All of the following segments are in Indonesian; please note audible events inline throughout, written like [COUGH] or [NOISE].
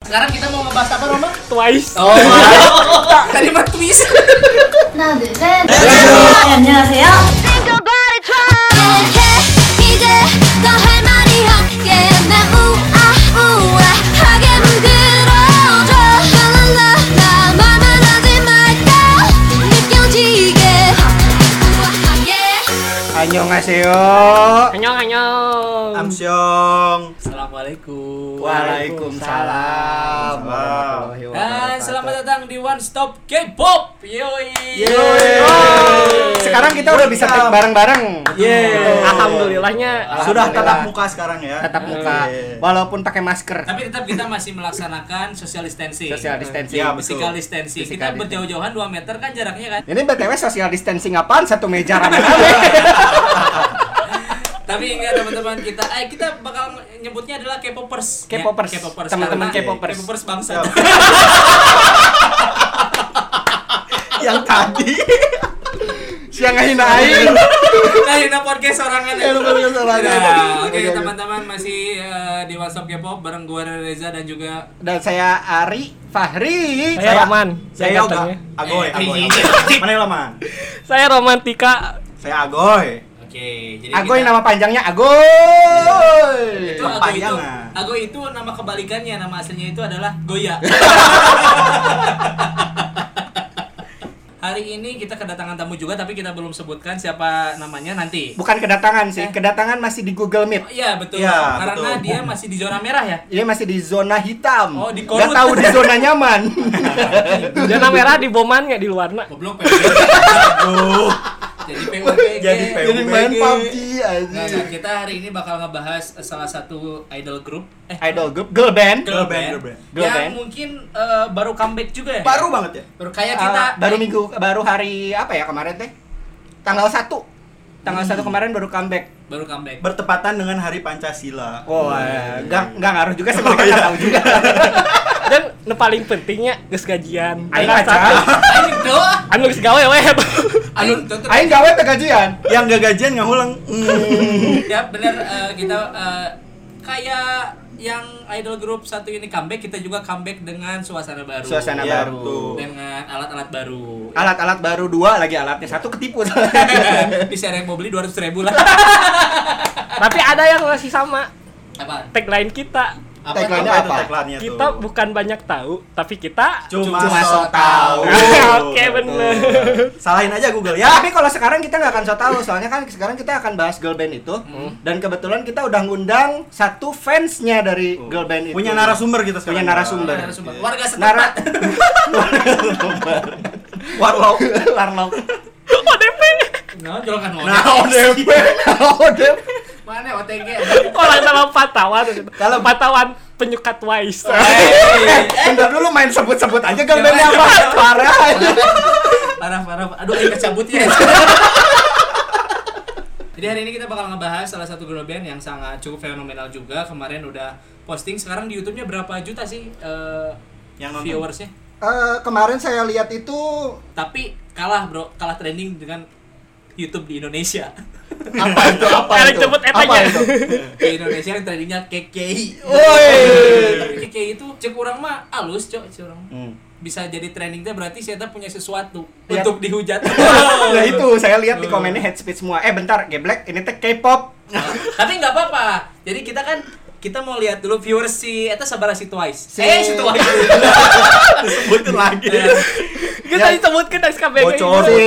Sekarang kita mau ngebahas apa Roma? Twice. [LAUGHS] Oh, tadi mah twist. 하나 둘셋 네, 안녕하세요. Think about it, try 이제 이제 더 할 말이 없게 날 우아우아하게 물들어줘 라라라 말만 하지 말고 느껴지게 우아하게 Annyeonghaseyo. Anyong anyong. Amsyong. Assalamualaikum. Waalaikumsalam. Dan Warahmatullahi wabarakatuh. Eh, selamat datang di One Stop K-pop. Yoi. Yeay. Sekarang kita udah bisa take bareng-bareng. Yeay. Alhamdulillahnya. Sudah Iya, Alhamdulillah. tatap muka sekarang ya. Tatap muka. Walaupun pakai masker. Tapi tetap kita masih melaksanakan social distancing. Social distancing. Ya, Iya, betul. physical distancing. Physical Kita distancing. berjauh-jauhan 2 meter kan jaraknya kan. Ini BTW social distancing apaan? Satu meja rame-rame. [LAUGHS] Tapi ingat teman-teman kita, eh kita bakal nyebutnya adalah K-popers. ya. K-popers. Teman-teman Karena K-popers. K-popers bangsa. Ya. [LAUGHS] Yang tadi. Siang ngehina aing. Nah, ini podcast sorangan. Iya, Eh, lu podcast sorangan. Nah, Oke, Oke, oke. teman-teman masih eh, di One Stop K-pop bareng gue Reza dan juga Dan saya Ari Fahri. Saya Roman. Saya Yoga. katanya. Agoy, Eh, Agoy. iya. Agoy. Mana yang lama? Saya Romantika. Saya Agoy. Oke, jadi kita- Agoy nama panjangnya Agoy. Iya. itu Agoy itu, Panjangan. Agoy itu nama kebalikannya, nama aslinya itu adalah Goya. [LAUGHS] Hari ini kita kedatangan tamu juga tapi kita belum sebutkan siapa namanya nanti. Bukan kedatangan sih, Eh. kedatangan masih di Google Meet. Iya, betul. Iya, Karena betul. dia masih di zona merah [LAUGHS] ya. Ini masih di zona hitam. Oh, di Nggak korut. tahu di zona nyaman. [LAUGHS] Zona merah di Boman nggak di luar nak? Goblok PUBG. Jadi PUBG. Jadi PUBG. Jadi main PUBG Nah, aja. nah, kita hari ini bakal ngebahas eh, salah satu idol group eh Idol nah. group, girl band. girl Girl band, band, girl band. Girl yang band. mungkin eh, baru comeback juga ya. Baru banget ya? Baru kayak kita Ah, baru minggu baru hari apa ya kemarin teh? Tanggal 1. Tanggal 1 kemarin baru comeback. baru comeback. Bertepatan dengan Hari Pancasila. Oh, eh, nggak nggak ngaruh juga [LAUGHS] sih mereka nggak tahu juga. Dan nu paling pentingnya geus gajian. Aing Tanggal acan. satu. Aing doa. Anu geus gawe weh. [LAUGHS] Aing tuh Aing gawe teh gajian. Yang gak gajian gak hulang. Mm. ya benar eh, kita eh, kayak yang idol group satu ini comeback kita juga comeback dengan suasana baru. Suasana Iya, baru. betul. dengan alat-alat baru. Alat-alat baru dua lagi alatnya satu ketipu. [LAUGHS] Bisa yang mau beli 200 ribu [LAUGHS] lah. Tapi ada yang masih sama. Apa? Tagline kita. Apa? tuh? Tagline-nya Apa itu Apa? tagline-nya tuh? Kita bukan banyak tahu, tapi kita Cuma, Cuma so so tahu. [LAUGHS] tahu. Oke, bener. Salahin aja Google Ya, ya. tapi kalau sekarang kita nggak akan so tau, soalnya kan sekarang kita akan bahas girl band itu, dan kebetulan kita udah ngundang satu fansnya dari girl band itu. Punya [LAUGHS] narasumber kita Oh. Punya sekarang. narasumber. Narasumber. Warga Nara. setempat. Warlock. Warlock. ODP. [LAUGHS] Nah, jolokan mau. [LAUGHS] Nah, ODP. [LAUGHS] Odep. Mana [LAUGHS] OTG? Eh, Orang sama patawan. Kalau patawan penyukat wise. Eh, bentar dulu main sebut-sebut aja girl bandnya apa? Parah. Parah parah. Aduh, ini kecabutnya. ya. Jadi hari ini kita bakal ngebahas salah satu girl band yang sangat cukup fenomenal juga. Kemarin udah posting, sekarang di YouTube-nya berapa juta sih eh, Yang nonton. viewersnya? Eh, kemarin saya lihat itu Tapi kalah bro, kalah trending dengan YouTube di [LAUGHS] Indonesia. apa itu apa Elek itu? jemput ya? Apa etanya. itu? di Indonesia yang trendingnya KKI. Woi. KKI itu cek orang mah halus, cok, cek orang. Hmm. Bisa jadi trending teh berarti saya punya sesuatu Iya. untuk dihujat. [LAUGHS] Nah itu saya lihat di komennya head speech semua. Eh bentar, geblek, ini teh K-pop. [LAUGHS] Tapi nggak apa-apa. Jadi kita kan kita mau lihat dulu viewers si eta sabara si Twice. Si- Eh si Twice. Sebutin [LAUGHS] lagi. Eh, Kita disebutkan dari SKBG. Bocor. [LAUGHS] si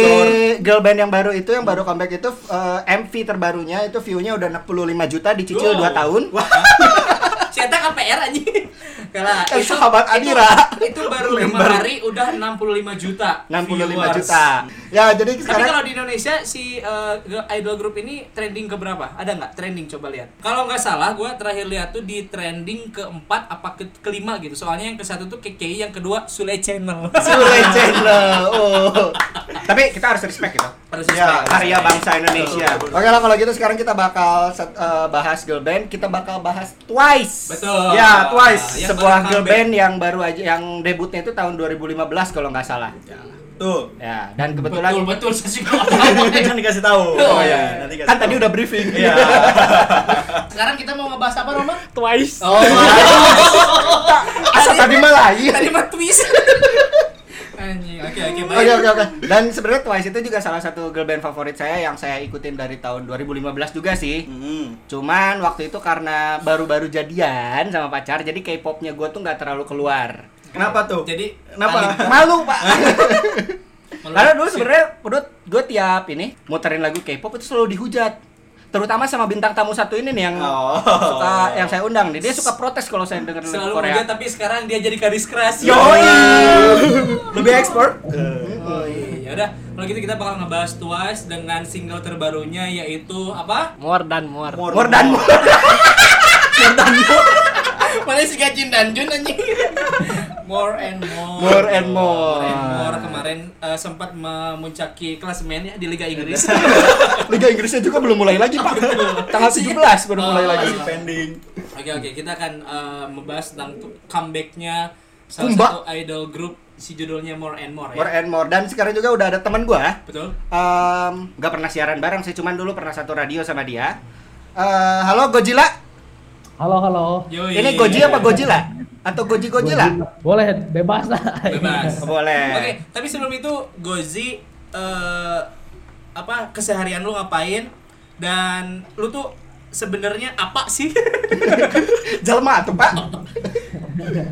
girl band yang baru itu yang baru comeback itu eh, MV terbarunya itu view-nya udah 65 juta dicicil Wow. 2 tahun. si eta kan KPR anjing. Kalah. Eh, sahabat Adira. Itu, itu baru lima hari udah 65 juta. 65 viewers. juta. Ya, jadi Tapi sekarang kalau di Indonesia si eh, idol group ini trending ke berapa? Ada nggak trending coba lihat. Kalau nggak salah gua terakhir lihat tuh di trending keempat apa ke kelima gitu. Soalnya yang ke satu tuh KKI, yang kedua Sule Channel. [LAUGHS] Sule Channel. Oh. Tapi kita harus respect gitu. Harus Ya, respect. karya bangsa Indonesia. Oke lah kalau gitu sekarang kita bakal set- eh, bahas girl band, kita bakal bahas Twice. Betul. Ya, Twice, Yang sebuah baru girl comeback. band yang baru aja yang debutnya itu tahun 2015 kalau nggak salah. Tuh. Ya, dan kebetulan Betul betul saya juga nggak tahu. Jangan dikasih tahu. Oh, iya, iya. nanti kan tadi udah briefing. Iya. Sekarang kita mau ngebahas apa Roma? Twice. [LAUGHS] Oh, [LAUGHS] Asal tadi malah iya. tadi mah twist. [LAUGHS] Anjing. Oke oke baik. Oke oke oke. Dan sebenarnya Twice itu juga salah satu girl band favorit saya yang saya ikutin dari tahun 2015 juga sih. Hmm. Cuman waktu itu karena baru-baru jadian sama pacar, jadi K-popnya gue tuh nggak terlalu keluar. Kenapa tuh? Jadi Kenapa? Malu pak. [LAUGHS] Malu. Karena dulu sebenarnya menurut gue tiap ini muterin lagu K-pop itu selalu dihujat. Terutama sama bintang tamu satu ini nih yang Oh. suka yang saya undang nih. Dia suka protes kalau saya denger lagu selalu Korea. muda tapi sekarang dia jadi karis keras. iya. Yoi. Lebih expert. Oh iya, udah. Kalau gitu kita bakal ngebahas Twice dengan single terbarunya yaitu apa? More dan more. More dan [LAUGHS] more. Mana si Gajin dan Jun anjing. More and more. More and more. More and more. kemarin eh, sempat memuncaki klasemen ya di Liga Inggris. Liga Inggrisnya juga belum mulai lagi pak. [LAUGHS] Tanggal 17 Oh, baru mulai lagi. Masih iya. pending. Oke oke, kita akan eh, membahas tentang tu- comebacknya salah Comeback. satu idol group si judulnya More and More ya. More and more. Dan sekarang juga udah ada teman gua Betul. Em, nggak pernah siaran bareng sih, cuman dulu pernah satu radio sama dia. Eh, halo Gojila. Halo, halo. Yoi. Ini Goji iya. apa Gojila? Atau Goji Gojila? Boleh, bebas lah. Bebas. Boleh. Oke, tapi sebelum itu Gozi eh, apa keseharian lu ngapain dan lu tuh sebenarnya apa sih? [LAUGHS] Jelma tuh pak.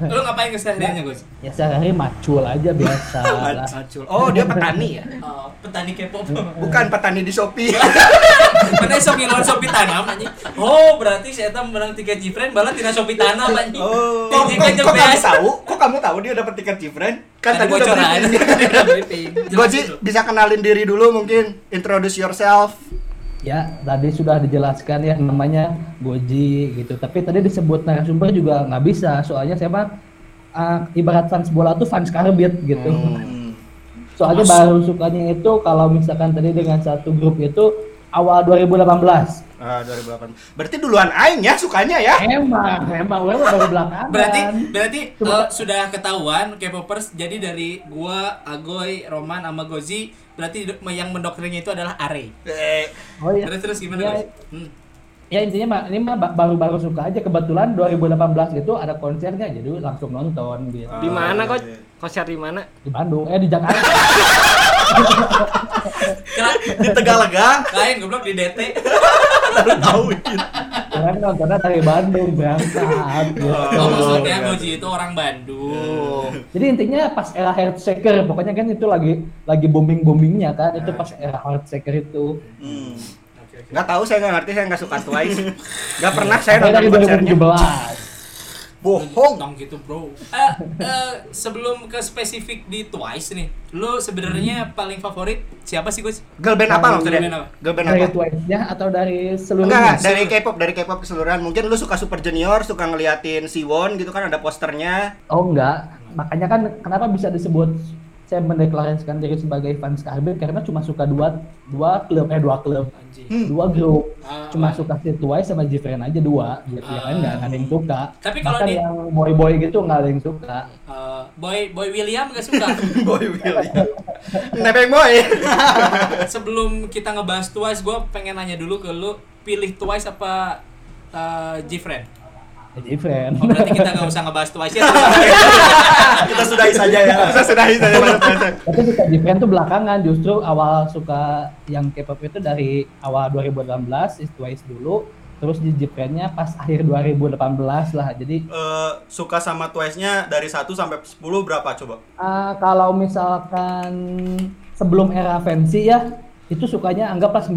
lu ngapain kesehariannya Gozi? Ya sehari-hari macul aja biasa. lah. Oh dia petani ya? Eh, petani K-pop. Bukan petani di Shopee. [LAUGHS] Mana sok ngiluan sopi tanam anjing. Oh, berarti si Eta menang tiket Jifren bala tina sopi tanam anjing. Oh, kok, Tinggi kok- kenyang kok kamu beas. tahu? Kok kamu tahu dia dapat tiket Jifren? Kan Ada tadi udah iya. bocoran. [LAUGHS] briefing. Ada briefing. Jelasin Goji dulu. bisa kenalin diri dulu mungkin. Introduce yourself. Ya, tadi sudah dijelaskan ya namanya Goji gitu. Tapi tadi disebut narasumber juga nggak bisa. Soalnya saya mah ah, ibarat fans bola tuh fans karbit gitu. Hmm. Soalnya baru sukanya itu kalau misalkan tadi dengan satu grup itu awal 2018. Ah, 2008. Berarti duluan Aing ya sukanya ya? Emang, emang orang baru belakangan. Berarti berarti eh, Cuma- sudah ketahuan K-popers jadi dari gua, Agoy, Roman sama Gozi berarti do- yang mendoktrinnya itu adalah Are. Eh, Oh iya. Terus terus gimana? Iya. Gozi? Hmm. Ya intinya mah ini mah ba- baru-baru suka aja kebetulan 2018 itu ada konsernya jadi langsung nonton gitu. Di mana kok? Konser di mana? Di Bandung eh di Jakarta. [LAUGHS] Kira Di Tegalaga lain goblok di [LAUGHS] DT. baru tahu gitu. Orang nontonnya dari Bandung berangkat gitu. Oh, maksudnya Gozi itu orang Bandung. Jadi intinya pas era Heart Shaker pokoknya kan itu lagi lagi booming-boomingnya kan Ah. itu pas era Heart Shaker itu. Hmm. Oke, oke. Nggak tahu, saya nggak ngerti, saya nggak suka Twice. Nggak pernah saya Saya nonton dari konsernya. 2017. Bohong. Tong gitu bro. Eh eh, sebelum ke spesifik di Twice nih, lu sebenarnya paling favorit siapa sih Gozi? Girl band apa maksudnya? Girl band apa? Girl band apa? Dari Twice-nya atau dari Enggak, enggak, seluruhnya? dari K-pop, dari K-pop keseluruhan. Mungkin lu suka Super Junior, suka ngeliatin Siwon gitu kan ada posternya. Oh enggak. Makanya kan kenapa bisa disebut saya mendeklarasikan diri sebagai fans Karbit karena cuma suka dua dua klub eh dua klub Anjing. dua grup Ah, ah. cuma suka si Twice sama Jifren aja dua gitu yang lain nggak nggak ada yang suka Tapi kalau Bahkan di- yang boy boy gitu nggak ada yang suka Eh, boy Boy William gak suka. [LAUGHS] [LAUGHS] Boy William. Nebeng boy. Sebelum kita ngebahas Twice, gua pengen nanya dulu ke lu pilih Twice apa eh, Jfriend? Ya, Jifren Oh, berarti kita nggak usah ngebahas Twice ya. [LAUGHS] Kita sudahi Iya, saja ya. Saya sudahi saya tapi suka Jifren tuh belakangan justru awal suka yang K-pop itu dari awal 2018 is Twice dulu terus di Jifrennya pas akhir 2018 lah jadi Eh, suka sama Twice-nya dari 1 sampai 10 berapa coba? Ah, kalau misalkan sebelum era fancy ya itu sukanya anggaplah 9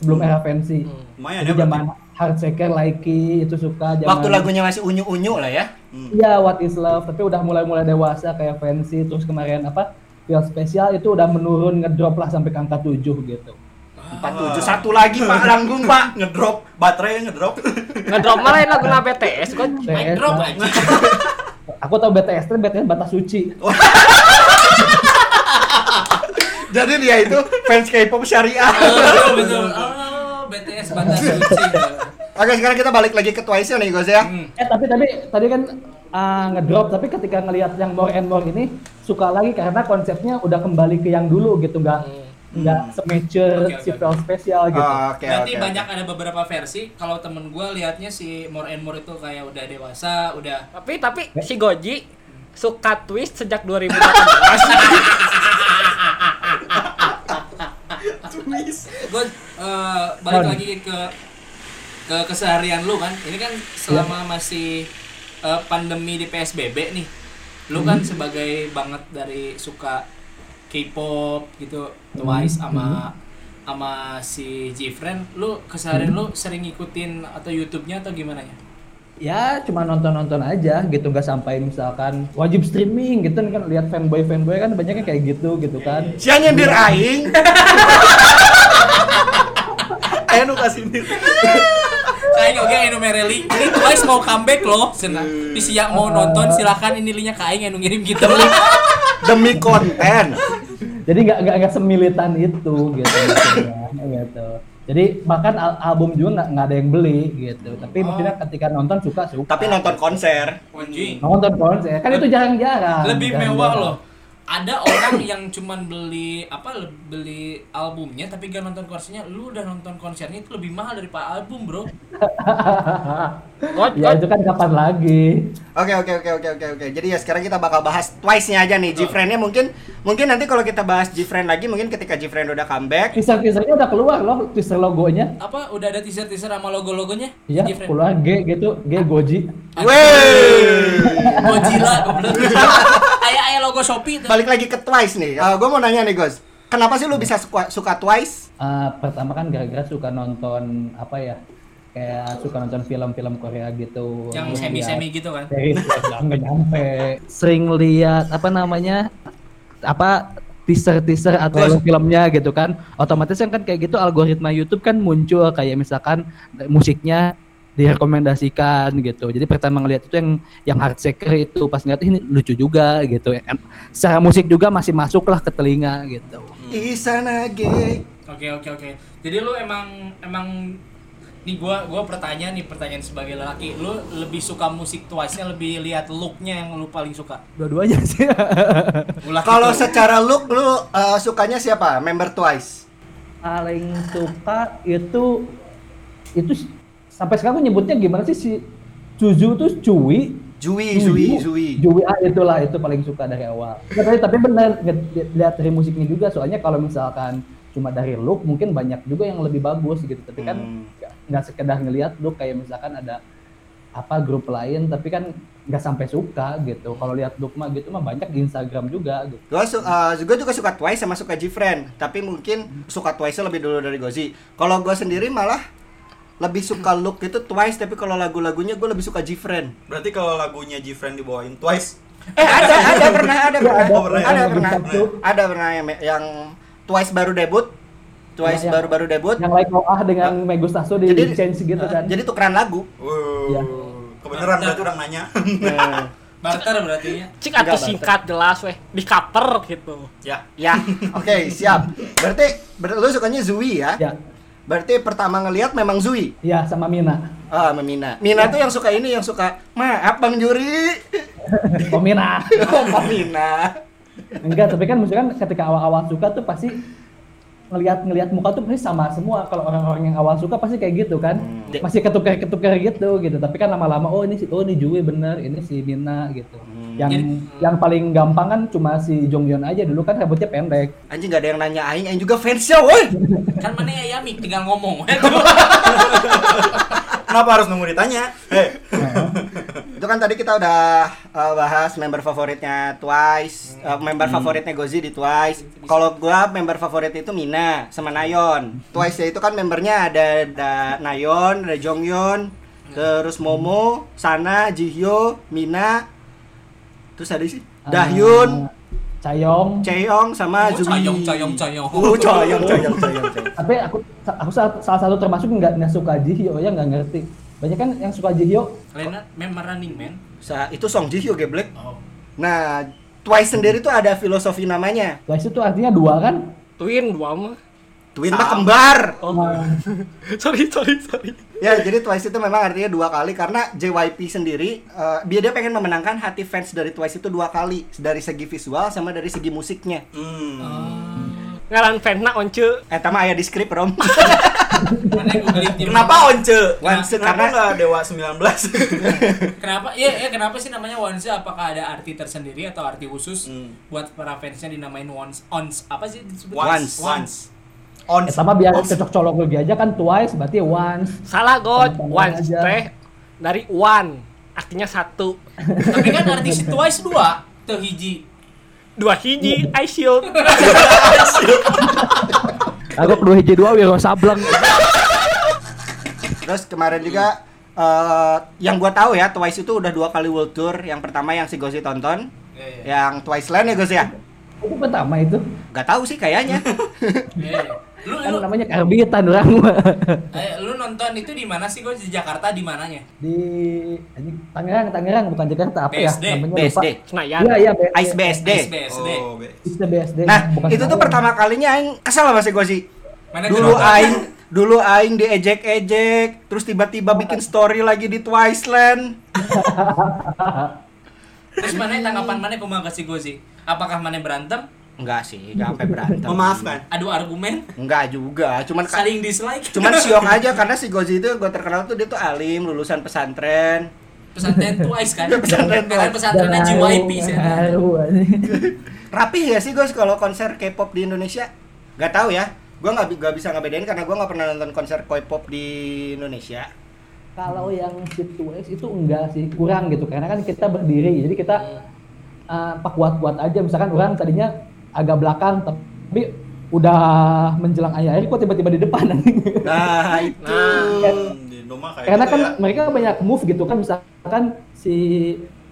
sebelum era fancy. Lumayan ya Jadi berarti. zaman Heartsecker, Likey itu suka zaman Iya, Waktu lagunya masih unyu-unyu lah ya. Iya, What is Love, tapi udah mulai-mulai dewasa kayak fancy terus kemarin apa? Feel spesial itu udah menurun ngedrop lah sampai ke angka 7 gitu. Ah. 471 satu lagi Pak Langgung Pak. Ngedrop, baterainya ngedrop. Ngedrop malah lagu na BTS kok. Mic BTS, drop nah. aja. [LAUGHS] aku tahu BTS itu BTS batas suci. Jadi dia itu fans K-pop syariah. [LAUGHS] Betul, betul. Oh, BTS batas suci. Oke, sekarang kita balik lagi ke Twice nih, Gos ya. Hmm. Eh tapi tapi tadi kan ah, ngedrop tapi ketika ngelihat yang more and more ini suka lagi karena konsepnya udah kembali ke yang dulu gitu nggak nggak semature Hmm. Oke, oke, Ah. si Pearl spesial gitu. Oh, Oke, Berarti oke. banyak ada beberapa versi. Kalau temen gue liatnya si More and More itu kayak udah dewasa, udah Tapi tapi Iya. si Goji suka twist sejak [LAUGHS] 2018. gue eh, balik lagi ke ke keseharian lu kan. Ini kan selama masih eh, pandemi di PSBB nih, lu kan sebagai banget dari suka K-pop gitu, Twice sama sama si Jfriend, lu keseharian lu sering ngikutin atau YouTube-nya atau gimana ya? Ya cuma nonton-nonton aja gitu nggak sampai misalkan wajib streaming gitu kan lihat fanboy fanboy kan banyaknya kayak gitu gitu kan. Siang nyindir [LAUGHS] aing. Ayo Eh, nu kasih nyindir. Kayak oke Enu Mereli. Ini Twice mau comeback loh. Senang. Di siang mau nonton silakan ini linknya ke Aing Enu ngirim gitu. kita. Demi konten. Jadi nggak nggak nggak semilitan itu gitu. maksudnya, gitu. Jadi bahkan al- album juga nggak nggak ada yang beli gitu. Oh. Tapi maksudnya ketika nonton suka suka. Tapi nonton konser. Anjing. nonton konser kan itu jarang-jarang. Lebih jarang-jarang. mewah loh. Ada orang [COUGHS] yang cuman beli apa le- beli albumnya tapi gak nonton konsernya. Lu udah nonton konsernya itu lebih mahal daripada album, Bro. God, God. Ya itu kan kapan lagi? Oke oke oke oke oke oke. Jadi ya sekarang kita bakal bahas Twice-nya aja nih. Jfriend-nya mungkin mungkin nanti kalau kita bahas Jfriend lagi mungkin ketika Jfriend udah comeback. Teaser-teasernya udah keluar loh, teaser logonya. Apa udah ada teaser-teaser sama logo-logonya? Iya, Jeffrey? keluar G gitu, G Goji. Wey. [LAUGHS] Godzilla goblok. [LAUGHS] Ayah-ayah logo Shopee tuh. Balik lagi ke Twice nih. Eh, gua mau nanya nih, Gos. Kenapa sih lu bisa suka, suka Twice? Eh, pertama kan gara-gara suka nonton apa ya? Kayak suka nonton film-film Korea gitu. Yang Terus semi-semi liat gitu kan. [LAUGHS] Series yang nggak nyampe. Sering lihat apa namanya? Apa teaser-teaser atau filmnya gitu kan otomatis yang kan kayak gitu algoritma YouTube kan muncul kayak misalkan musiknya direkomendasikan gitu jadi pertama ngelihat itu yang yang heartsecker itu pas ngeliat ini lucu juga gitu Em- secara musik juga masih masuk lah ke telinga gitu Hmm. Isana gay. Oke oke oke. Jadi lu emang emang nih gua gua pertanyaan nih pertanyaan sebagai lelaki. Lu lebih suka musik Twice-nya lebih lihat look-nya yang lu paling suka. dua-duanya [LAUGHS] sih Ulah Kalau gitu. secara look lu eh, sukanya siapa? Member Twice. paling suka itu itu s- sampai sekarang aku nyebutnya gimana sih si Cuju tuh Cui Jui, Jui, Jui. Jui ah, itulah itu paling suka dari awal Ya, tapi tapi benar lihat dari musiknya juga soalnya kalau misalkan cuma dari look mungkin banyak juga yang lebih bagus gitu tapi kan Hmm. nggak- nggak sekedar ngelihat look kayak misalkan ada apa grup lain tapi kan nggak sampai suka gitu kalau lihat look mah gitu mah banyak di Instagram juga gitu Gua, su- eh, gua juga suka Twice sama suka Jfriend, tapi mungkin suka Twice lebih dulu dari Gozi. Kalau gua sendiri malah lebih suka look itu Twice, tapi kalau lagu-lagunya gua lebih suka Jfriend. Berarti kalau lagunya Jfriend dibawain Twice, Eh ada, ada pernah, ada pernah, ada, ada, ada, pernah, ada. ada pernah yang, yang Twice baru debut, Twice Ya, ya. baru-baru debut. yang like oh ah dengan Megustaso di Nah, Jadi- eh, nah, change gitu kan Jadi tukeran lagu. wow, Iya. kebenaran berarti orang [LAUGHS] nanya. Nah, barter berarti ya. Cik atau Enggak, singkat jelas weh, di cover gitu. ya, ya, oke siap. Berarti, berarti lu sukanya Zui ya? ya Berarti pertama ngelihat memang Zui. ya sama [LAUGHS] Mina Ah, sama Mina. Ya. Mina tuh yang suka ini, yang suka maaf Bang Juri. [LAUGHS] Oh Mina. Oh, Mbak Mina. Enggak, tapi kan maksudnya kan ketika awal-awal suka tuh pasti ngelihat ngelihat muka tuh pasti sama semua kalau orang-orang yang awal suka pasti kayak gitu kan masih ketukar ketukar gitu gitu tapi kan lama-lama oh ini si oh ini Jui bener ini si Mina gitu yang Jadi- yang paling gampang kan cuma si Jonghyun aja dulu kan rambutnya pendek Anjing gak ada yang nanya aing, aing juga fansnya woi. Kan mana ya Yami tinggal ngomong. [LAUGHS] kenapa harus nunggu ditanya? Eh, Itu kan tadi kita udah uh, bahas member favoritnya Twice, Hmm. uh, member favoritnya Gozi di Twice. Kalau gua member favorit itu Mina sama Nayon. Twice itu kan membernya ada, ada Nayon, ada Jonghyun, Hmm. terus Momo, Sana, Jihyo, Mina, terus ada sih Dahyun, Eh, Chaeyoung Cheong Ah. sama Oh, Zumi. Chaeyoung, Chaeyoung, Chaeyoung. Oh, Chaeyoung, Chaeyoung, Chaeyoung, Chaeyoung. tapi aku aku salah, salah satu termasuk nggak nggak suka Jihyo ya nggak ngerti banyak kan yang suka Jihyo Lena memang running man. Sa- itu Song Jihyo geblek. Oh. Nah, Twice sendiri tuh ada filosofi namanya. Twice itu artinya dua kan Twin dua mah. Twin mah kembar. sorry, sorry, sorry. Ya, jadi Twice itu memang artinya dua kali karena JYP sendiri eh, dia dia pengen memenangkan hati fans dari Twice itu dua kali, dari segi visual sama dari segi musiknya. Hmm. Ngaran fansna once. Eh, tama aya di skrip, Rom. Mana yang gua gelitin? Kenapa once? Once, Kenapa karena- nggak dewa 19? [LAUGHS] Kenapa? Iya, iya, kenapa sih namanya Once? Apakah ada arti tersendiri atau arti khusus Hmm. buat para fansnya dinamain Once? Once apa sih disebut? Once. Once. once. [LAUGHS] Eh, sama biar cocok colok lagi aja kan twice berarti once. Salah god, Sama-sama one aja. teh dari one artinya satu. Tapi kan arti si Twice dua, tuh hiji. Dua hiji, Iya. I [LAUGHS] shield. Aku perlu hiji dua wiro sableng. Terus kemarin juga eh, yang gua tahu ya Twice itu udah dua kali world tour. Yang pertama yang si Gozi tonton, Iya, iya. yang Twice Land ya Gozi ya. itu pertama itu. Gak tahu sih [LAUGHS] kayaknya. Iya, iya. Lu Kan lu namanya karbitan [LAUGHS] orang mah. eh, lu nonton itu di mana sih? Gue di Jakarta di mananya? Di anjing, Tangerang, Tangerang bukan Jakarta apa ya BSD, namanya BSD, lupa. Senayan. Iya iya BSD. Ya, Ice BSD. SBSD. Oh, be- Itu BSD. Nah, bukan itu tuh Senayan. pertama kalinya aing kesel sama si Gozi. Mana Dulu nonton? aing dulu aing diejek-ejek, terus tiba-tiba bikin story lagi di Twice Land. Terus mana yang tanggapan mana kumaha ke si Gozi? Apakah mana yang berantem? Enggak sih, enggak sampai berantem. Oh, Memaafkan. Adu argumen? Enggak juga, cuman Saling dislike? Kan cuman siok aja karena si Gozi itu gue terkenal tuh dia tuh alim, lulusan pesantren. [LAUGHS] pesantren Twice kan? Pesantren Twice. Karena pesantrennya Garu, JYP sih. garu, anjing. Rapih ya sih Gos kalau konser K-pop di Indonesia? Gak tahu ya. Gua nggak bi- nggak bisa ngebedain karena gua nggak pernah nonton konser K-pop di Indonesia. [LAUGHS] Kalau yang shift to X itu enggak sih, kurang gitu. Karena kan kita berdiri, jadi kita eh, pak kuat-kuat aja. Misalkan orang tadinya agak belakang, tapi udah menjelang akhir, kok tiba-tiba di depan. [LAUGHS] Nah, itu. Hmm, di rumah kayak Karena gitu kan ya. mereka banyak move gitu kan. Misalkan si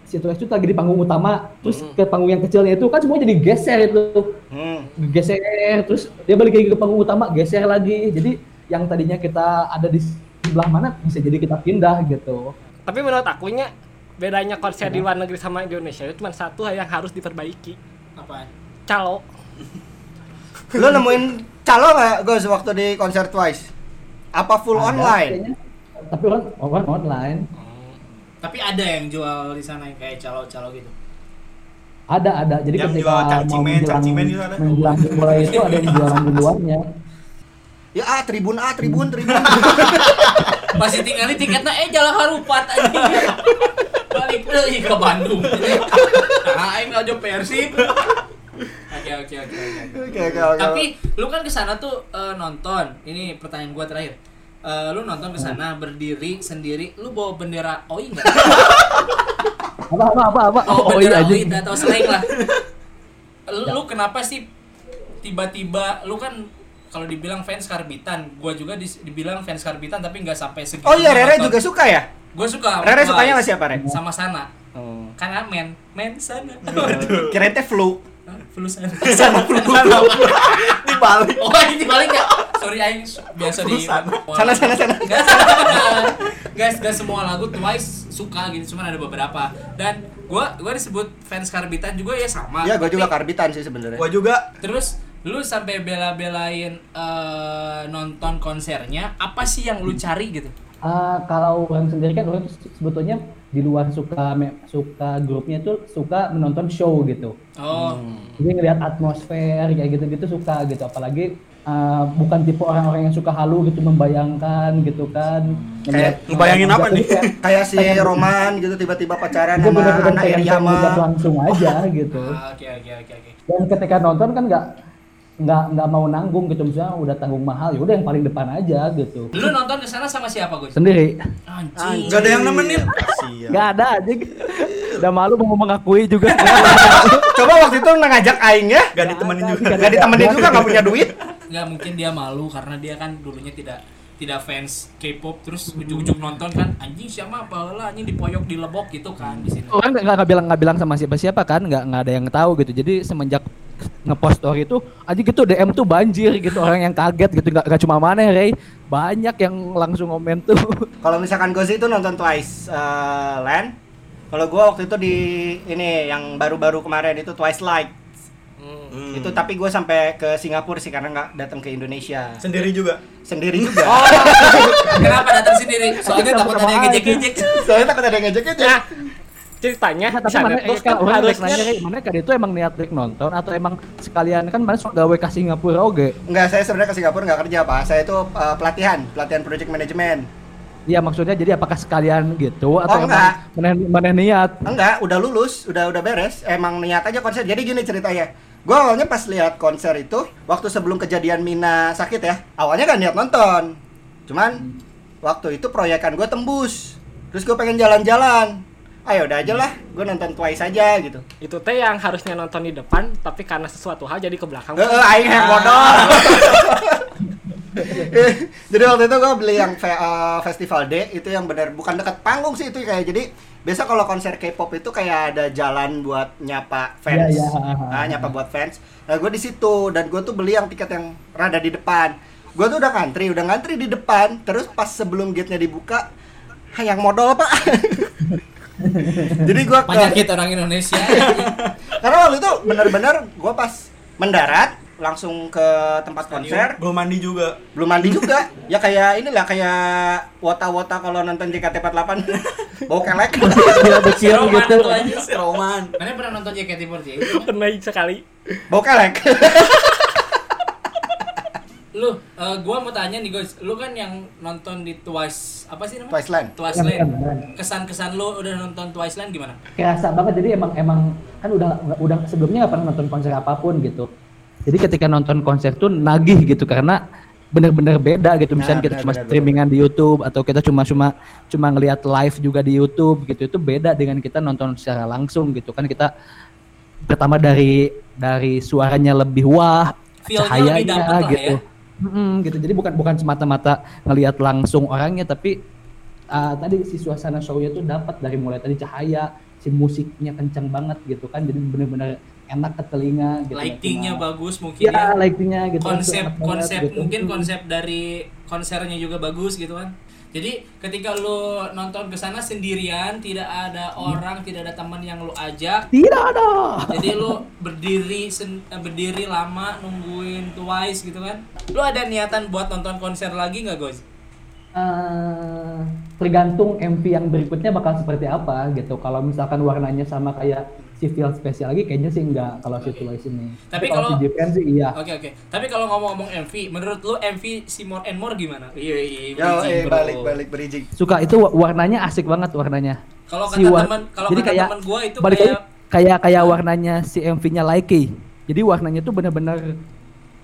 si 2X itu lagi di panggung utama, terus ke panggung yang kecilnya itu kan semua jadi geser itu. Hmm. geser terus dia balik lagi ke panggung utama geser lagi jadi yang tadinya kita ada di sebelah mana bisa jadi kita pindah gitu Tapi menurut akunya bedanya konser Iya. di luar negeri sama Indonesia itu cuma satu hal yang harus diperbaiki. Apaan? Calo. Lo nemuin calo nggak Gos waktu di konser Twice? Apa full Ada online? kayaknya. tapi orang orang online Tapi ada yang jual di sana yang kayak calo-calo gitu. ada ada jadi Yang ketika jual cangcimen, menjelang cangcimen itu ada. menjelang mulai itu ada yang jualan di luarnya Ya ah, tribun ah, tribun, [LAUGHS] tribun. Masih tinggal di tiketnya eh jalan harupat aja. [LAUGHS] Balik lagi ke Bandung. Nah, aing aja Persib. Oke, oke, oke. oke. Oke, oke, oke. Tapi lu kan kesana tuh eh, nonton. Ini pertanyaan gua terakhir. Eh, lu nonton kesana berdiri sendiri, lu bawa bendera OI enggak? apa apa apa apa Bawa oh, bendera iya OI aja atau slang lah. Lu, lu Ya. kenapa sih tiba-tiba lu kan kalau dibilang fans karbitan, gua juga dis- dibilang fans karbitan tapi nggak sampai segitu. Oh iya, Rere juga suka ya? Gue suka. sama Rere Twice. sukanya sama siapa, Re? Sama sana. Oh. Karena men, men sana. Iya. Kirain teh [LAUGHS] flu. Hah? Flu sana. Sana flu sana. [LAUGHS] Dibalik. Oh, ini dibalik ya. Sorry aing su- biasa di sana. Sana, sana, sana. Enggak sana. Guys, gak semua lagu Twice suka gitu, cuman ada beberapa. Dan gua gua disebut fans karbitan juga ya sama. Ya, gua juga Tapi- karbitan sih sebenarnya. Gua juga Terus lu sampai bela-belain eh, nonton konsernya, apa sih yang lu cari gitu? Ah, kalau orang sendiri kan orang sebetulnya di luar suka me- suka grupnya itu suka menonton show gitu Hmm. Oh, Jadi ngelihat atmosfer kayak gitu-gitu suka gitu. Apalagi uh, bukan tipe orang-orang yang suka halu gitu membayangkan gitu kan. Kayak Iya. Ngelihat- Hmm. Iya. ngebayangin apa [LAUGHS] nih? Kayak- Kayak si Roman gitu tiba-tiba pacaran Gue sama bener-bener anak pengen [LAUGHS] Iriyama. terlibat langsung aja gitu. Ah, oke oke oke oke. Dan ketika nonton kan nggak nggak nggak mau nanggung gitu misalnya udah tanggung mahal ya udah yang paling depan aja gitu. Lu nonton ke sana sama siapa, Gus? Sendiri Anjing. Gak ada yang nemenin. Iya. nggak ada aja. Udah malu mau mengakui juga. [LAUGHS] Coba waktu itu ngajak Aing ya. Gak ditemenin juga. Gak ditemenin juga gak punya duit. nggak mungkin dia malu karena dia kan dulunya tidak tidak fans K-pop terus ujung-ujung nonton kan anjing siapa apa lah anjing dipoyok dilebok gitu kan di sini. orang nggak nggak bilang nggak bilang sama siapa siapa kan nggak nggak ada yang tahu gitu jadi semenjak ngepost story itu aja gitu DM tuh banjir gitu orang yang kaget gitu nggak nggak cuma mana Ray banyak yang langsung komen tuh Kalau misalkan Gozi itu nonton Twice eh, Land. Kalau gua waktu itu di ini yang baru-baru kemarin itu Twice Light. Hmm. Itu tapi gue sampai ke Singapura sih karena nggak datang ke Indonesia. sendiri juga. [LAUGHS] Sendiri juga. Kenapa datang sendiri? Soalnya takut ada yang ngejek-ngejek. Soalnya takut ada yang ngejek aja. Nah, ceritanya Nah, di tapi sana mana tuh eh, kan kalau orang harus nanya harusnya kayak mana kan itu emang niat Rick nonton atau emang sekalian kan mana suka gawe ke Singapura oge. Enggak, saya sebenarnya ke Singapura nggak kerja, Pak. Saya itu uh, pelatihan, pelatihan project management. Ya maksudnya jadi apakah sekalian Oh, gitu atau emang enggak. mana mana niat? Enggak, udah lulus, udah udah beres. Emang niat aja konser. Jadi gini ceritanya. Gue awalnya pas lihat konser itu, waktu sebelum kejadian Mina sakit ya, awalnya kan niat nonton. Cuman waktu itu proyekan gue tembus. Terus gue pengen jalan-jalan. Ayo udah aja lah, gue nonton Twice aja gitu. itu teh yang harusnya nonton di depan tapi karena sesuatu hal jadi ke belakang. Heeh, aing yang bodol. jadi waktu itu gue beli yang fe- eh, festival D itu yang bener bukan dekat panggung sih itu kayak jadi biasa kalau konser K-pop itu kayak ada jalan buat nyapa fans, Iya, iya. Ah, nyapa buat fans. Nah gue di situ dan gue tuh beli yang tiket yang rada di depan. Gue tuh udah ngantri, udah ngantri di depan. Terus pas sebelum gate-nya dibuka, "Ah, yang modal pak. [LAUGHS] jadi gue ke Penyakit orang Indonesia. karena waktu itu benar-benar gue pas mendarat langsung ke tempat konser Belum mandi juga. belum mandi juga ya kayak inilah kayak wota-wota kalau nonton [LAUGHS] JKT48 bau kelek Iya, Si Roman gitu. tuh aja. Si Roman. Mana pernah nonton JKT48? Pernah sekali. bau kelek Lu, eh, gua mau tanya nih guys, lu kan yang nonton di Twice, apa sih namanya? Twice Land Twice Kan, Land. kan, kan. Kesan-kesan lu udah nonton Twice Land gimana? kerasa banget jadi emang emang kan udah udah sebelumnya nggak pernah nonton konser apapun gitu jadi ketika nonton konser tuh nagih gitu karena bener-bener beda gitu misalnya Nah, kita bener, cuma bener, streamingan di YouTube atau kita cuma cuma cuma ngelihat live juga di YouTube gitu itu beda dengan kita nonton secara langsung gitu kan kita pertama dari dari suaranya lebih wah Feel-nya cahayanya lebih dapet lah gitu ya. Mm, gitu jadi bukan bukan semata-mata ngelihat langsung orangnya tapi ah, tadi si suasana show-nya tuh dapat dari mulai tadi cahaya si musiknya kencang banget gitu kan jadi bener-bener enak ke telinga gitu Lightingnya bagus mungkin ya ya. lightingnya gitu kan, tuh Konsep enak banget konsep gitu. mungkin konsep dari konsernya juga bagus gitu kan. Jadi ketika lu nonton ke sana sendirian, tidak ada orang, tidak ada teman yang lu ajak, tidak ada jadi lu berdiri sen- eh, berdiri lama nungguin Twice gitu kan. Lu ada niatan buat nonton konser lagi nggak guys? Eh, tergantung MV yang berikutnya bakal seperti apa gitu kalau misalkan warnanya sama kayak si feel spesial lagi kayaknya sih enggak kalau si Twice ini Tapi kalau- si Japan sih iya Oke oke. Tapi kalau ngomong-ngomong MV, menurut lu MV si More and More gimana? Iya iya. iya, yo bridging, eh bro. balik balik berijing suka itu wa- warnanya asik banget warnanya Kalau kata Si war- teman, kalau jadi kata kayak- teman gua itu balik kayak kayak kayak kayak warnanya si MV-nya Likey jadi warnanya tuh bener-bener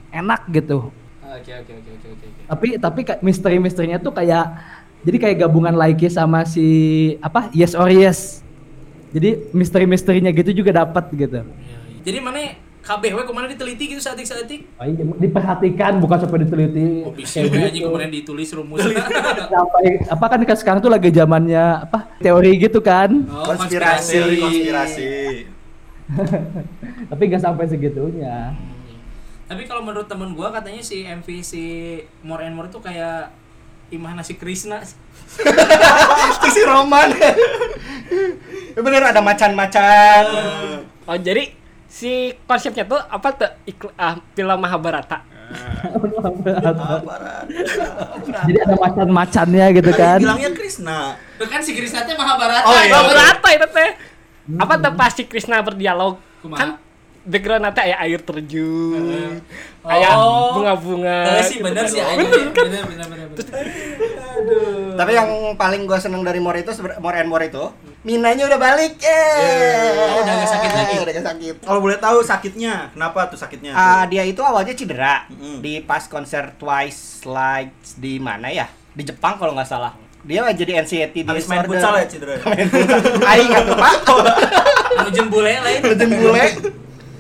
enak gitu Oke oke oke oke oke. oke. tapi tapi kayak misteri-misterinya tuh kayak jadi kayak gabungan Likey sama si apa Yes or Yes jadi misteri-misterinya gitu juga dapat Iya, gitu iya. Jadi mana KBW kemana diteliti gitu saatik-saatik? Oh, iya, diperhatikan bukan sampai diteliti Oh, bisa kayak gue gitu. kemarin ditulis rumus. Iya. sampai apa kan kan sekarang tuh lagi zamannya apa teori gitu kan [LAUGHS] Oh, Konspirasi. Teori konspirasi. tapi nggak sampai segitunya Tapi kalau menurut temen gua katanya si MV si More and More itu kayak Imah Nasi Krishna. itu si Roman [LAUGHS] Ya bener ada macan-macan Eh. Oh jadi si konsepnya tuh apa tuh ikl- ah, film Mahabharata. jadi ada macan-macannya gitu Nah, Kan kan bilangnya Krishna. Tuh kan si Krishna teh Mahabharata. Oh, Ah, iya. Mahabharata itu teh. Apa Hmm. tuh pasti Krishna berdialog Kumaha? kan background nanti aya air terjun, Oh. aya bunga-bunga. Eh, sih bener sih aja. Bener. kan? Bener bener bener. bener. tapi yang paling gue seneng dari More itu seben- More and More itu Minanya udah balik eh Iya, Oh, udah nggak sakit lagi. udah nggak sakit Kalau boleh tahu sakitnya, kenapa tuh sakitnya? Ah, dia itu awalnya cedera Iya, Mm-mm. di pas konser Twice Lights di mana ya? Di Jepang kalau nggak salah. Dia jadi NCT di Habis main futsal ya cedera. Main [LAUGHS] futsal. Aing nggak kepantau. Anu jembule lain. Lejen bule.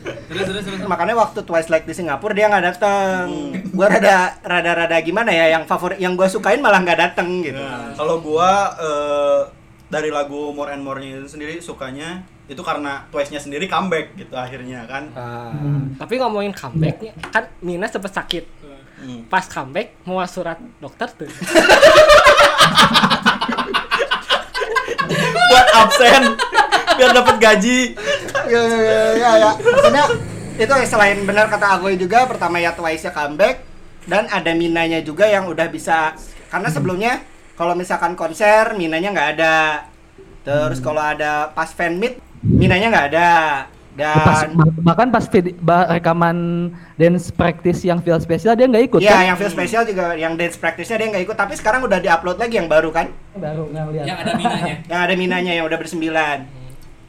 Terus terus terus. Makanya waktu Twice Light di Singapura dia nggak dateng. Mm. Gua rada rada rada gimana ya? Yang favorit yang gua sukain malah nggak dateng gitu. Nah, kalau gua eh, dari lagu More and More-nya itu sendiri sukanya itu karena Twice-nya sendiri comeback gitu akhirnya kan. Ah. Tapi ngomongin comebacknya kan Mina sempet sakit. Hmm. Pas comeback mau surat dokter tuh. Buat absen biar dapat gaji. Iya, Ya ya ya ya. ya. Maksudnya itu selain benar kata Agoy juga pertama ya Twice nya comeback dan ada Minanya juga yang udah bisa karena sebelumnya kalau misalkan konser Minanya nggak ada terus kalau ada pas fan meet Minanya nggak ada Nah, Pas- dan bahkan pas vid- ba- rekaman dance practice yang feel spesial dia nggak ikut Iya, kan? yang feel spesial juga yang dance practice-nya dia nggak ikut, tapi sekarang udah diupload lagi yang baru kan? baru ngeliat. yang ada minanya Yang ada minanya yang udah bersembilan.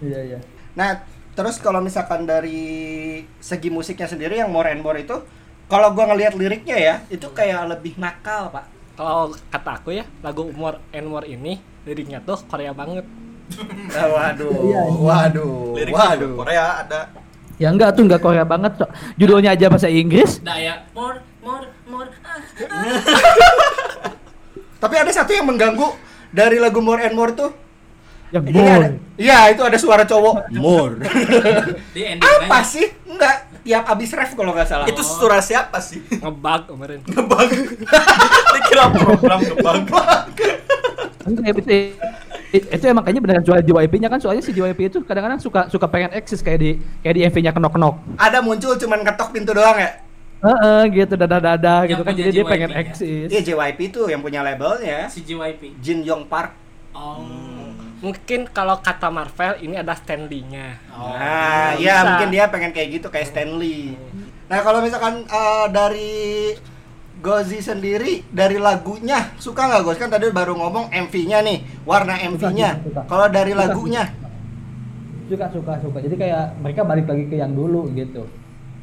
Iya iya. Nah, terus kalau misalkan dari segi musiknya sendiri yang more and more itu, kalau gua ngelihat liriknya ya, itu kayak lebih nakal, Pak. Kalau kata aku ya, lagu More and More ini liriknya tuh Korea banget. Hmm. Eh, waduh, Iya, iya. waduh, Liriknya juga Oh, waduh. Korea ada Ya enggak tuh enggak Korea banget. Cok. Judulnya aja bahasa Inggris. daya more more more ah. Tapi ada satu yang mengganggu dari lagu more and more tuh. Yang Ini ada- Iya, itu ada suara cowok. More. di ending Apa sih? Enggak, tiap abis ref kalau nggak salah. itu surah siapa sih Ngebug kemarin. ngebug dikira program ngebug Enggak, itu, itu, Kan gitu. itu emang kayaknya beneran jual JYP-nya kan soalnya si JYP itu kadang-kadang suka suka pengen eksis kayak di kayak di MV-nya kenok-kenok. Ada muncul cuman ketok pintu doang ya. Heeh, gitu dadah-dadah gitu kan punya jadi dia JYP pengen -nya. eksis. Iya, JYP itu yang punya labelnya. si JYP Jin Yong Park. oh Hmm. Mungkin kalau kata Marvel ini ada standingnya. Nah, bisa. ya mungkin dia pengen kayak gitu kayak Stanley. Nah, kalau misalkan eh, dari Gozi sendiri dari lagunya suka nggak Goz? Kan tadi baru ngomong MV-nya nih, warna MV-nya. suka, suka. Kalau dari Suka, lagunya, Suka suka suka. Jadi kayak mereka balik lagi ke yang dulu gitu.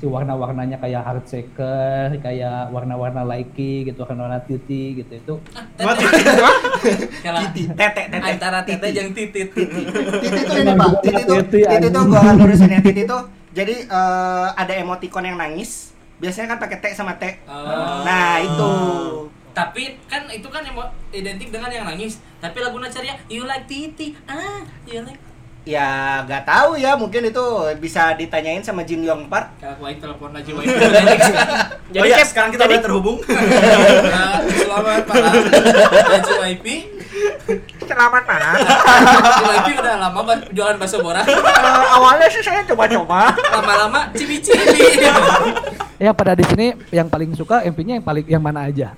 Si warna-warnanya kayak hard shaker, kayak warna-warna likey gitu, warna-warna titi gitu. Itu Ah, kalah titi, tete, tete. antara tete Titi. yang titit Titi itu ini Pak, Titi itu gitu ya, Titi, Titi itu anjing. gua akan lurusin ya Titi itu. Jadi eh, ada emoticon yang nangis. Biasanya kan pakai T sama T. Oh. Nah, itu. tapi kan itu kan yang mau- identik dengan yang nangis tapi lagu nacarnya you like titi ah you like Ya, nggak tahu ya, mungkin itu bisa ditanyain sama Jin Yong Park. kalau gua ini telepon aja [LAUGHS] JYP jadi Jadi ya, kayak sekarang kita udah terhubung Nah, selamat malam Nah, Dan JYP Selamat malam. JYP udah lama ban- jualan bakso borak Eh, awalnya sih saya coba-coba. lama-lama cibi-cibi ya pada di sini yang paling suka MV-nya yang paling yang mana aja?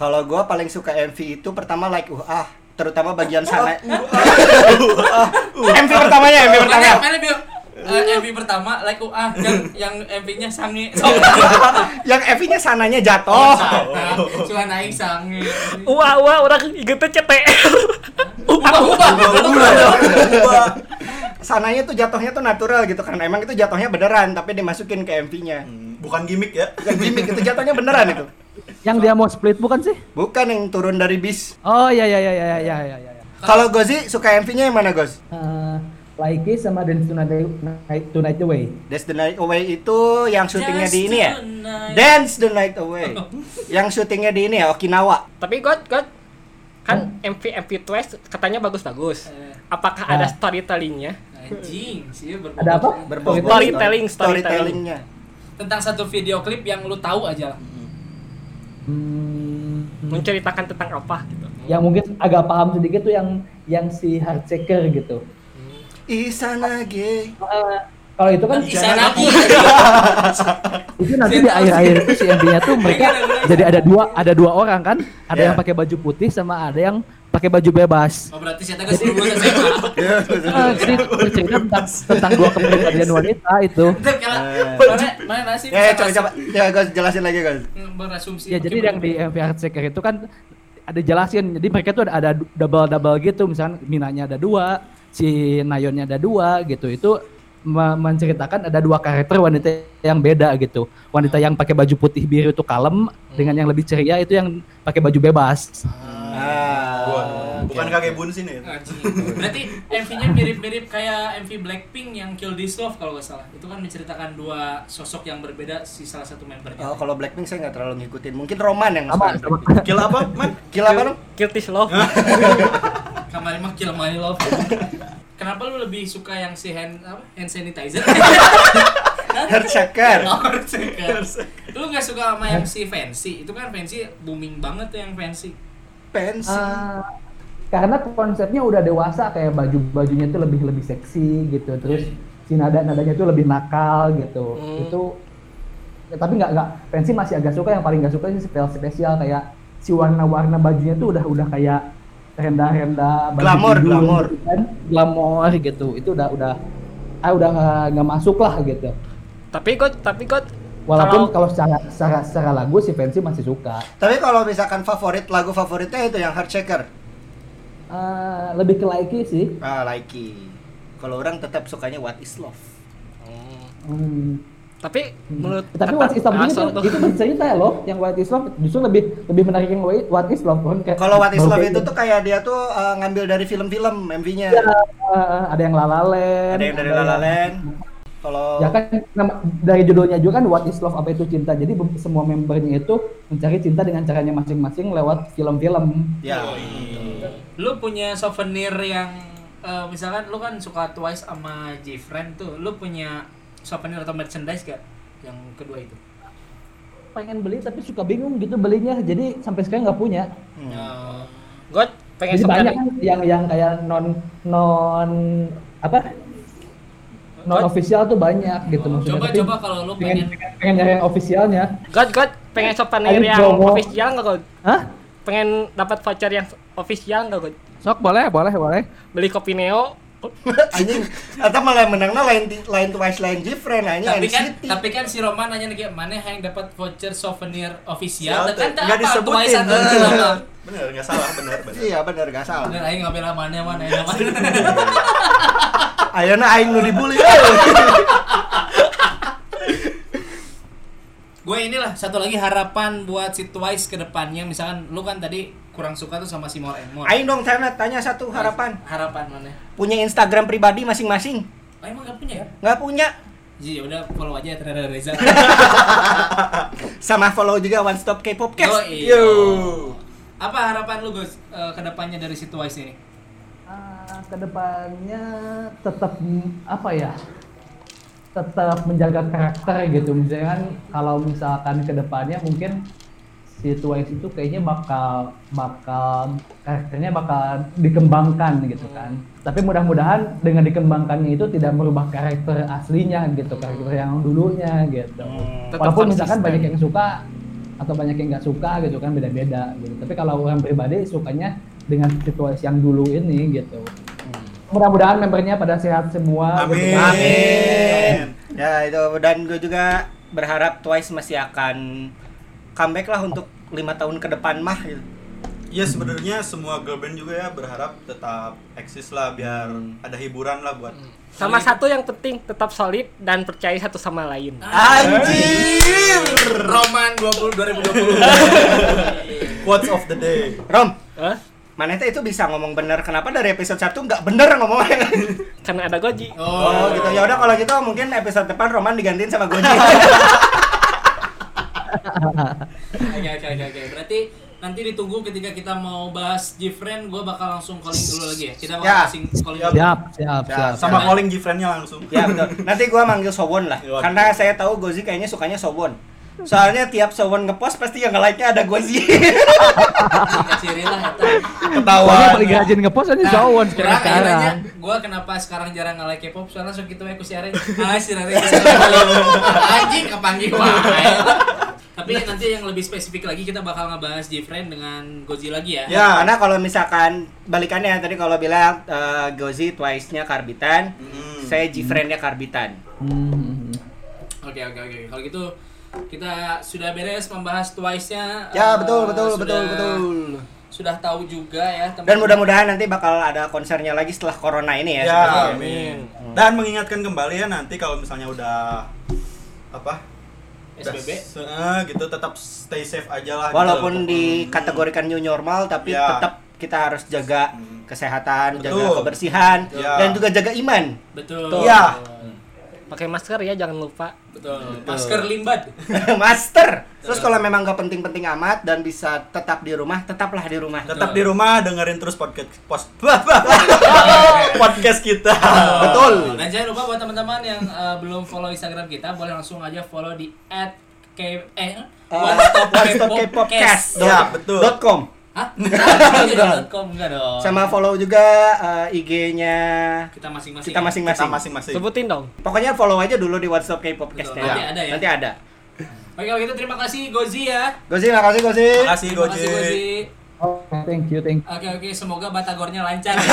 Kalau gua paling suka MV itu pertama like uh ah, terutama bagian sana. [LAUGHS] Uh, MV pertamanya, MV pertama. mana mana Bio? Eh, MV pertama like uh, ah yang yang MV-nya sange Oh. [LAUGHS] Yang MV-nya sananya oh jatuh. sana. cuma naik sange Oh, Wah wah orang ingetnya CTR. ubah ubah Coba. Sananya tuh jatuhnya tuh natural gitu kan. Emang itu jatuhnya beneran tapi dimasukin ke MV-nya. Hmm, bukan gimmick ya Bukan gimmick, itu jatuhnya beneran itu. Yang dia mau split bukan sih? Bukan yang turun dari bis. Oh ya ya ya ya ya ya ya. ya. Kalau Gozi suka MV-nya yang mana, Goz? Eh, Likey sama Dance Tonight, Tonight Away. Dance the Night Away itu yang syutingnya di ini ya? Just tonight. Dance the Night [LAUGHS] Away. yang syutingnya di ini ya, Okinawa. Tapi God God kan MV MV Twice katanya bagus-bagus. Eh. Apakah ada Ah. storytellingnya? anjing sih berbobot. Ada apa? Berbobot. Storytelling, storytellingnya. tentang satu video klip yang lu tahu aja lah Hmm, Menceritakan tentang apa gitu? yang mungkin agak paham sedikit tuh yang yang si hard checker gitu. Isana [LAUGHS] gay. Eh, kalau itu kan bisa lagi itu nanti di akhir-akhir itu si MV-nya tuh mereka jadi ada dua ada dua orang kan, ada Iya. yang pakai baju putih sama ada yang pakai baju bebas. oh berarti saya tegas dulu gua SMA Eh, jadi bercerita tentang, tentang dua kepribadian wanita itu. Ntar kalau Eh. mana mana sih Ya, ya, bisa coba masuk- coba. Ya, guys, jelasin lagi, guys. berasumsi Ya jadi pakai yang di MV Art Checker itu kan ada jelasin. Jadi mereka tuh ada, ada double double gitu. Misalnya Minanya ada dua, si Nayonnya ada dua gitu. Itu me- menceritakan ada dua karakter wanita yang beda gitu. Wanita yang pakai baju putih biru itu kalem, dengan yang lebih ceria itu yang pakai baju bebas. Ah. Gua- bukan kakek bun sini ya Anjing. Berarti MV-nya mirip-mirip kayak MV Blackpink yang Kill This Love kalau nggak salah. Itu kan menceritakan dua sosok yang berbeda si salah satu membernya. Oh, kalau Blackpink saya nggak terlalu ngikutin. Mungkin Roman yang Sama, masuk. sama. kill apa Ah. man Gila apa lu? Kiltis Love. Kemarin mah Kill My Love. Kenapa lu lebih suka yang si hand apa? Hand sanitizer? Heart shaker. Or second. lu nggak suka sama yang si fancy? Itu kan fancy booming banget tuh yang fancy. Pensi. Ah, karena konsepnya udah dewasa kayak baju bajunya tuh lebih lebih seksi gitu terus si nada nadanya itu lebih nakal gitu Hmm. itu ya, tapi nggak nggak pensi masih agak suka yang paling nggak suka sih spesial spesial kayak si warna-warna bajunya tuh udah udah kayak rendah-rendah baju Glamor, tidur glamor. gitu kan glamor gitu itu udah udah ah udah eh, nggak masuk lah gitu Tapi kok tapi kok walaupun kalau- kalau secara secara secara lagu si pensi masih suka Tapi kalau misalkan favorit lagu favoritnya itu yang Heart Shaker. Eh, lebih ke Laiki sih Ah, Laiki. Kalau orang tetap sukanya What Is Love. Hmm. tapi menurut Tapi What Is Love Ah, itu, so- itu bercerita ya loh, yang What Is Love justru lebih lebih menarik yang What Is Love kan kayak Kalau What Is baru Love kayak itu tuh kayak dia tuh eh, ngambil dari film-film MV-nya. Iya, eh, ada yang lalalen, Ada yang dari La La Land. Kalau Ya kan nama- dari judulnya juga kan What Is Love apa itu cinta. Jadi be- semua membernya itu mencari cinta dengan caranya masing-masing lewat film-film. ya Lu punya souvenir yang eh, misalkan lu kan suka Twice sama J-Friend tuh, lu punya souvenir atau merchandise gak yang kedua itu? Pengen beli tapi suka bingung gitu belinya. Jadi sampai sekarang nggak punya. Eh, Gue pengen Jadi sebenarnya banyak kan yang yang kayak non non apa? non official tuh banyak gitu maksudnya. Oh, coba Tapi coba kalau lu pengen pengen pengen nyari yang officialnya. God, God, pengen souvenir Ayo, yang Bromo. official nggak God? Hah? Pengen dapat voucher yang official nggak God? Sok boleh, boleh, boleh. Beli kopi Neo? anjing atau malah menangnya lain lain Twice lain Different hanya tapi kan NCT. tapi kan si Roman nanya lagi mana yang dapat voucher souvenir official Sial, kan teh. tak Nggak apa disebutin. Twice satu itu lama. Bener, nggak salah, bener, bener. Iya benar gak salah. Bener aing ngambil mana mana aing mana. Ayana nah, aing nu dibully. [LAUGHS] Gue inilah satu lagi harapan buat si Twice ke depannya misalkan lu kan tadi kurang suka tuh sama si More and More. Aing dong sana tanya satu harapan. Harapan mana? Punya Instagram pribadi masing-masing? Oh, emang gak punya ya? Nggak punya. Ji, ya udah follow aja Terada Reza. Sama follow juga One Stop K-pop Oh, Cast. iya. Yo. Apa harapan lu Gus eh, ke depannya dari si Twice ini? Ah, kedepannya tetap mm, apa ya tetap menjaga karakter gitu misalkan kalau misalkan kedepannya mungkin si Twice itu kayaknya bakal bakal karakternya bakal dikembangkan gitu kan tapi mudah-mudahan dengan dikembangkannya itu tidak merubah karakter aslinya gitu karakter yang dulunya gitu Hmm, Tetap walaupun konsisten. misalkan banyak yang suka atau banyak yang nggak suka gitu kan beda-beda gitu tapi kalau orang pribadi sukanya dengan situasi yang dulu ini gitu Hmm. mudah-mudahan membernya pada sehat semua Amin. gitu kan. Amin. Ya itu dan gue juga berharap Twice masih akan comeback lah untuk lima tahun ke depan mah. gitu. Ya sebenarnya semua girl band juga ya berharap tetap eksis lah biar ada hiburan lah buat Sama satu yang penting tetap solid dan percaya satu sama lain. Ah. Anjir. Roman 20 [LAUGHS] 2020. quotes of the day. Rom, Hah? mana teh itu bisa ngomong bener? Kenapa dari episode 1 nggak bener ngomongnya? [LAUGHS] Karena Kan ada Goji. Oh, gitu. Ya udah kalau gitu mungkin episode depan Roman digantiin sama [LAUGHS] Goji. Oke oke oke oke. Berarti nanti ditunggu ketika kita mau bahas Jifren, gue bakal langsung calling dulu lagi ya. Kita bakal Ya. langsung calling Ya. dulu. Siap, siap, siap. Sama calling Gifrennya langsung. ya betul. Nanti gua manggil Sobon lah. Iya. Karena saya tahu Gozi kayaknya sukanya Sobon. Soalnya tiap Sobon ngepost pasti yang nge-like-nya ada [LAUGHS] Gozi. Tiga ciri lah. eta. Soalnya Ketawa. paling rajin ngepost aja [LAUGHS] Zawon sekarang. Kurang aja nanya, gue kenapa sekarang jarang nge like K-pop soalnya sok gitu aku [LAUGHS] siaran ah siaran anjing kepanggil wae tapi nanti yang lebih spesifik lagi kita bakal ngebahas Jifren dengan Gozi lagi ya Ya, karena kalau misalkan balikannya tadi kalau bilang eh, Gozi twice-nya Karbitan, Hmm. saya Jifren-nya Karbitan. Hmm. oke oke oke kalau gitu kita sudah beres membahas Twice-nya Ya, Eh, betul, betul, sudah- betul, betul. sudah tahu juga ya teman Dan mudah-mudahan nanti bakal ada konsernya lagi setelah corona ini ya. Ya, sebenarnya. amin. Dan mengingatkan kembali ya nanti kalau misalnya udah apa? udah SBB se- eh, gitu tetap stay safe aja lah. gitu. Walaupun dikategorikan new normal tapi Ya. tetap kita harus jaga Hmm. kesehatan, jaga Betul. kebersihan Ya. dan juga jaga iman. [LAUGHS] betul Iya. Pakai masker ya, jangan lupa. betul masker limbat Master. Terus kalau memang nggak penting-penting amat dan bisa tetap di rumah, tetaplah di rumah. tetap di rumah dengerin terus podcast pos- [LAUGHS] podcast kita. [LAUGHS] Betul. Oh, Dan jangan lupa buat teman-teman yang eh, belum follow Instagram kita, boleh langsung aja follow di @k eh Eh, One Stop K-popcast. Ya, betul. Dot com. [LAUGHS] Hah? Jangan.com enggak dong. Sama follow juga eh, IG-nya kita masing-masing. ya. kita Kita masing-masing. masing-masing. Sebutin dong. Pokoknya follow aja dulu di WhatsApp K-popcast Betul, nanti ada ya. Nanti ada. Oke, kalau gitu terima kasih Gozi ya. Gozi, makasih Gozi. Makasih Terima Goji. kasih Gozi. Oh, thank you, thank you. Oke oke, semoga batagornya [LAUGHS] lancar. [LAUGHS]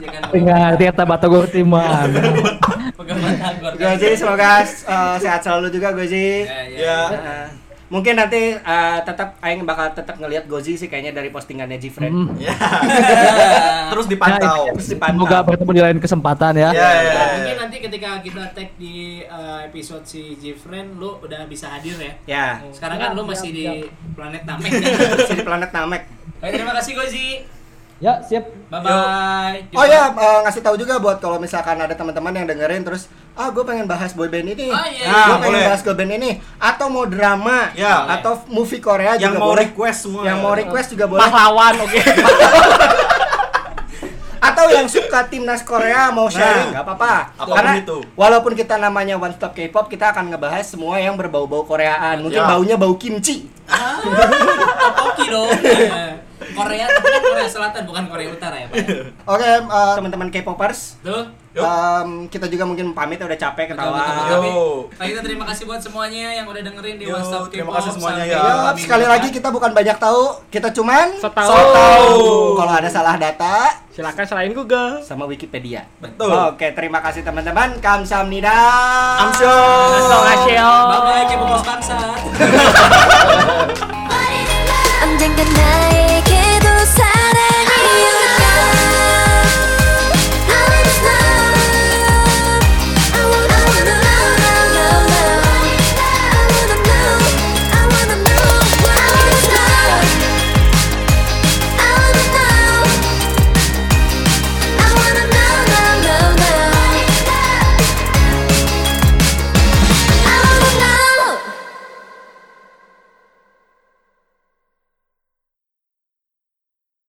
Ya kan? Jangan Tinggal tiap batagor timan. pegang batagor. Gozi semoga eh, sehat selalu juga Gozi. Ya, ya. Ya. Eh, mungkin nanti eh, tetap aing bakal tetap ngelihat Gozi sih kayaknya dari postingannya Jifred. Hmm. Ya. Ya. Terus dipantau. Terus dipantau. Semoga bertemu di lain kesempatan ya. Ya, ya, Nah, ya. mungkin nanti ketika kita tag di uh, episode si Jifren, lu udah bisa hadir ya. Ya. Sekarang kan lu masih di planet Namek. Masih di planet Namek. Oke, terima kasih Gozi. Ya, siap. Bye bye. Oh iya. ya, eh, ngasih tahu juga buat kalau misalkan ada teman-teman yang dengerin terus, ah gue pengen bahas boyband ini, Oh, iya, ah gue iya. pengen Boleh. bahas boyband ini, atau mau drama, Ya. atau movie Korea Yang juga mau boleh, request semua. yang mau request juga boleh, Pahlawan, oke. [LAUGHS] atau yang suka timnas Korea mau sharing, nggak apa-apa. Nah, apapun Karena itu. walaupun kita namanya One Stop K-pop, kita akan ngebahas semua yang berbau-bau Koreaan. Mungkin Ya. baunya bau kimchi. Oke dong. Eh, Korea, tapi kan Korea Selatan bukan Korea Utara ya, Pak. ya? Oke, eh, teman-teman K-popers, Tuh. Yuk. em, kita juga mungkin pamit udah capek Betul, ketawa. betul, betul. Ah, Yo. Tapi kita terima kasih buat semuanya yang udah dengerin di Yo, WhatsApp terima kasih semuanya ya. Yup, sekali lagi kita bukan banyak tahu, kita cuman Setahu. so tahu. Kalau ada salah data Silakan selain Google. sama Wikipedia. Betul. Oke, terima kasih teman-teman. Kamsahamnida. Amsyong. Terima kasih. Bye bye, kepo bos bangsa.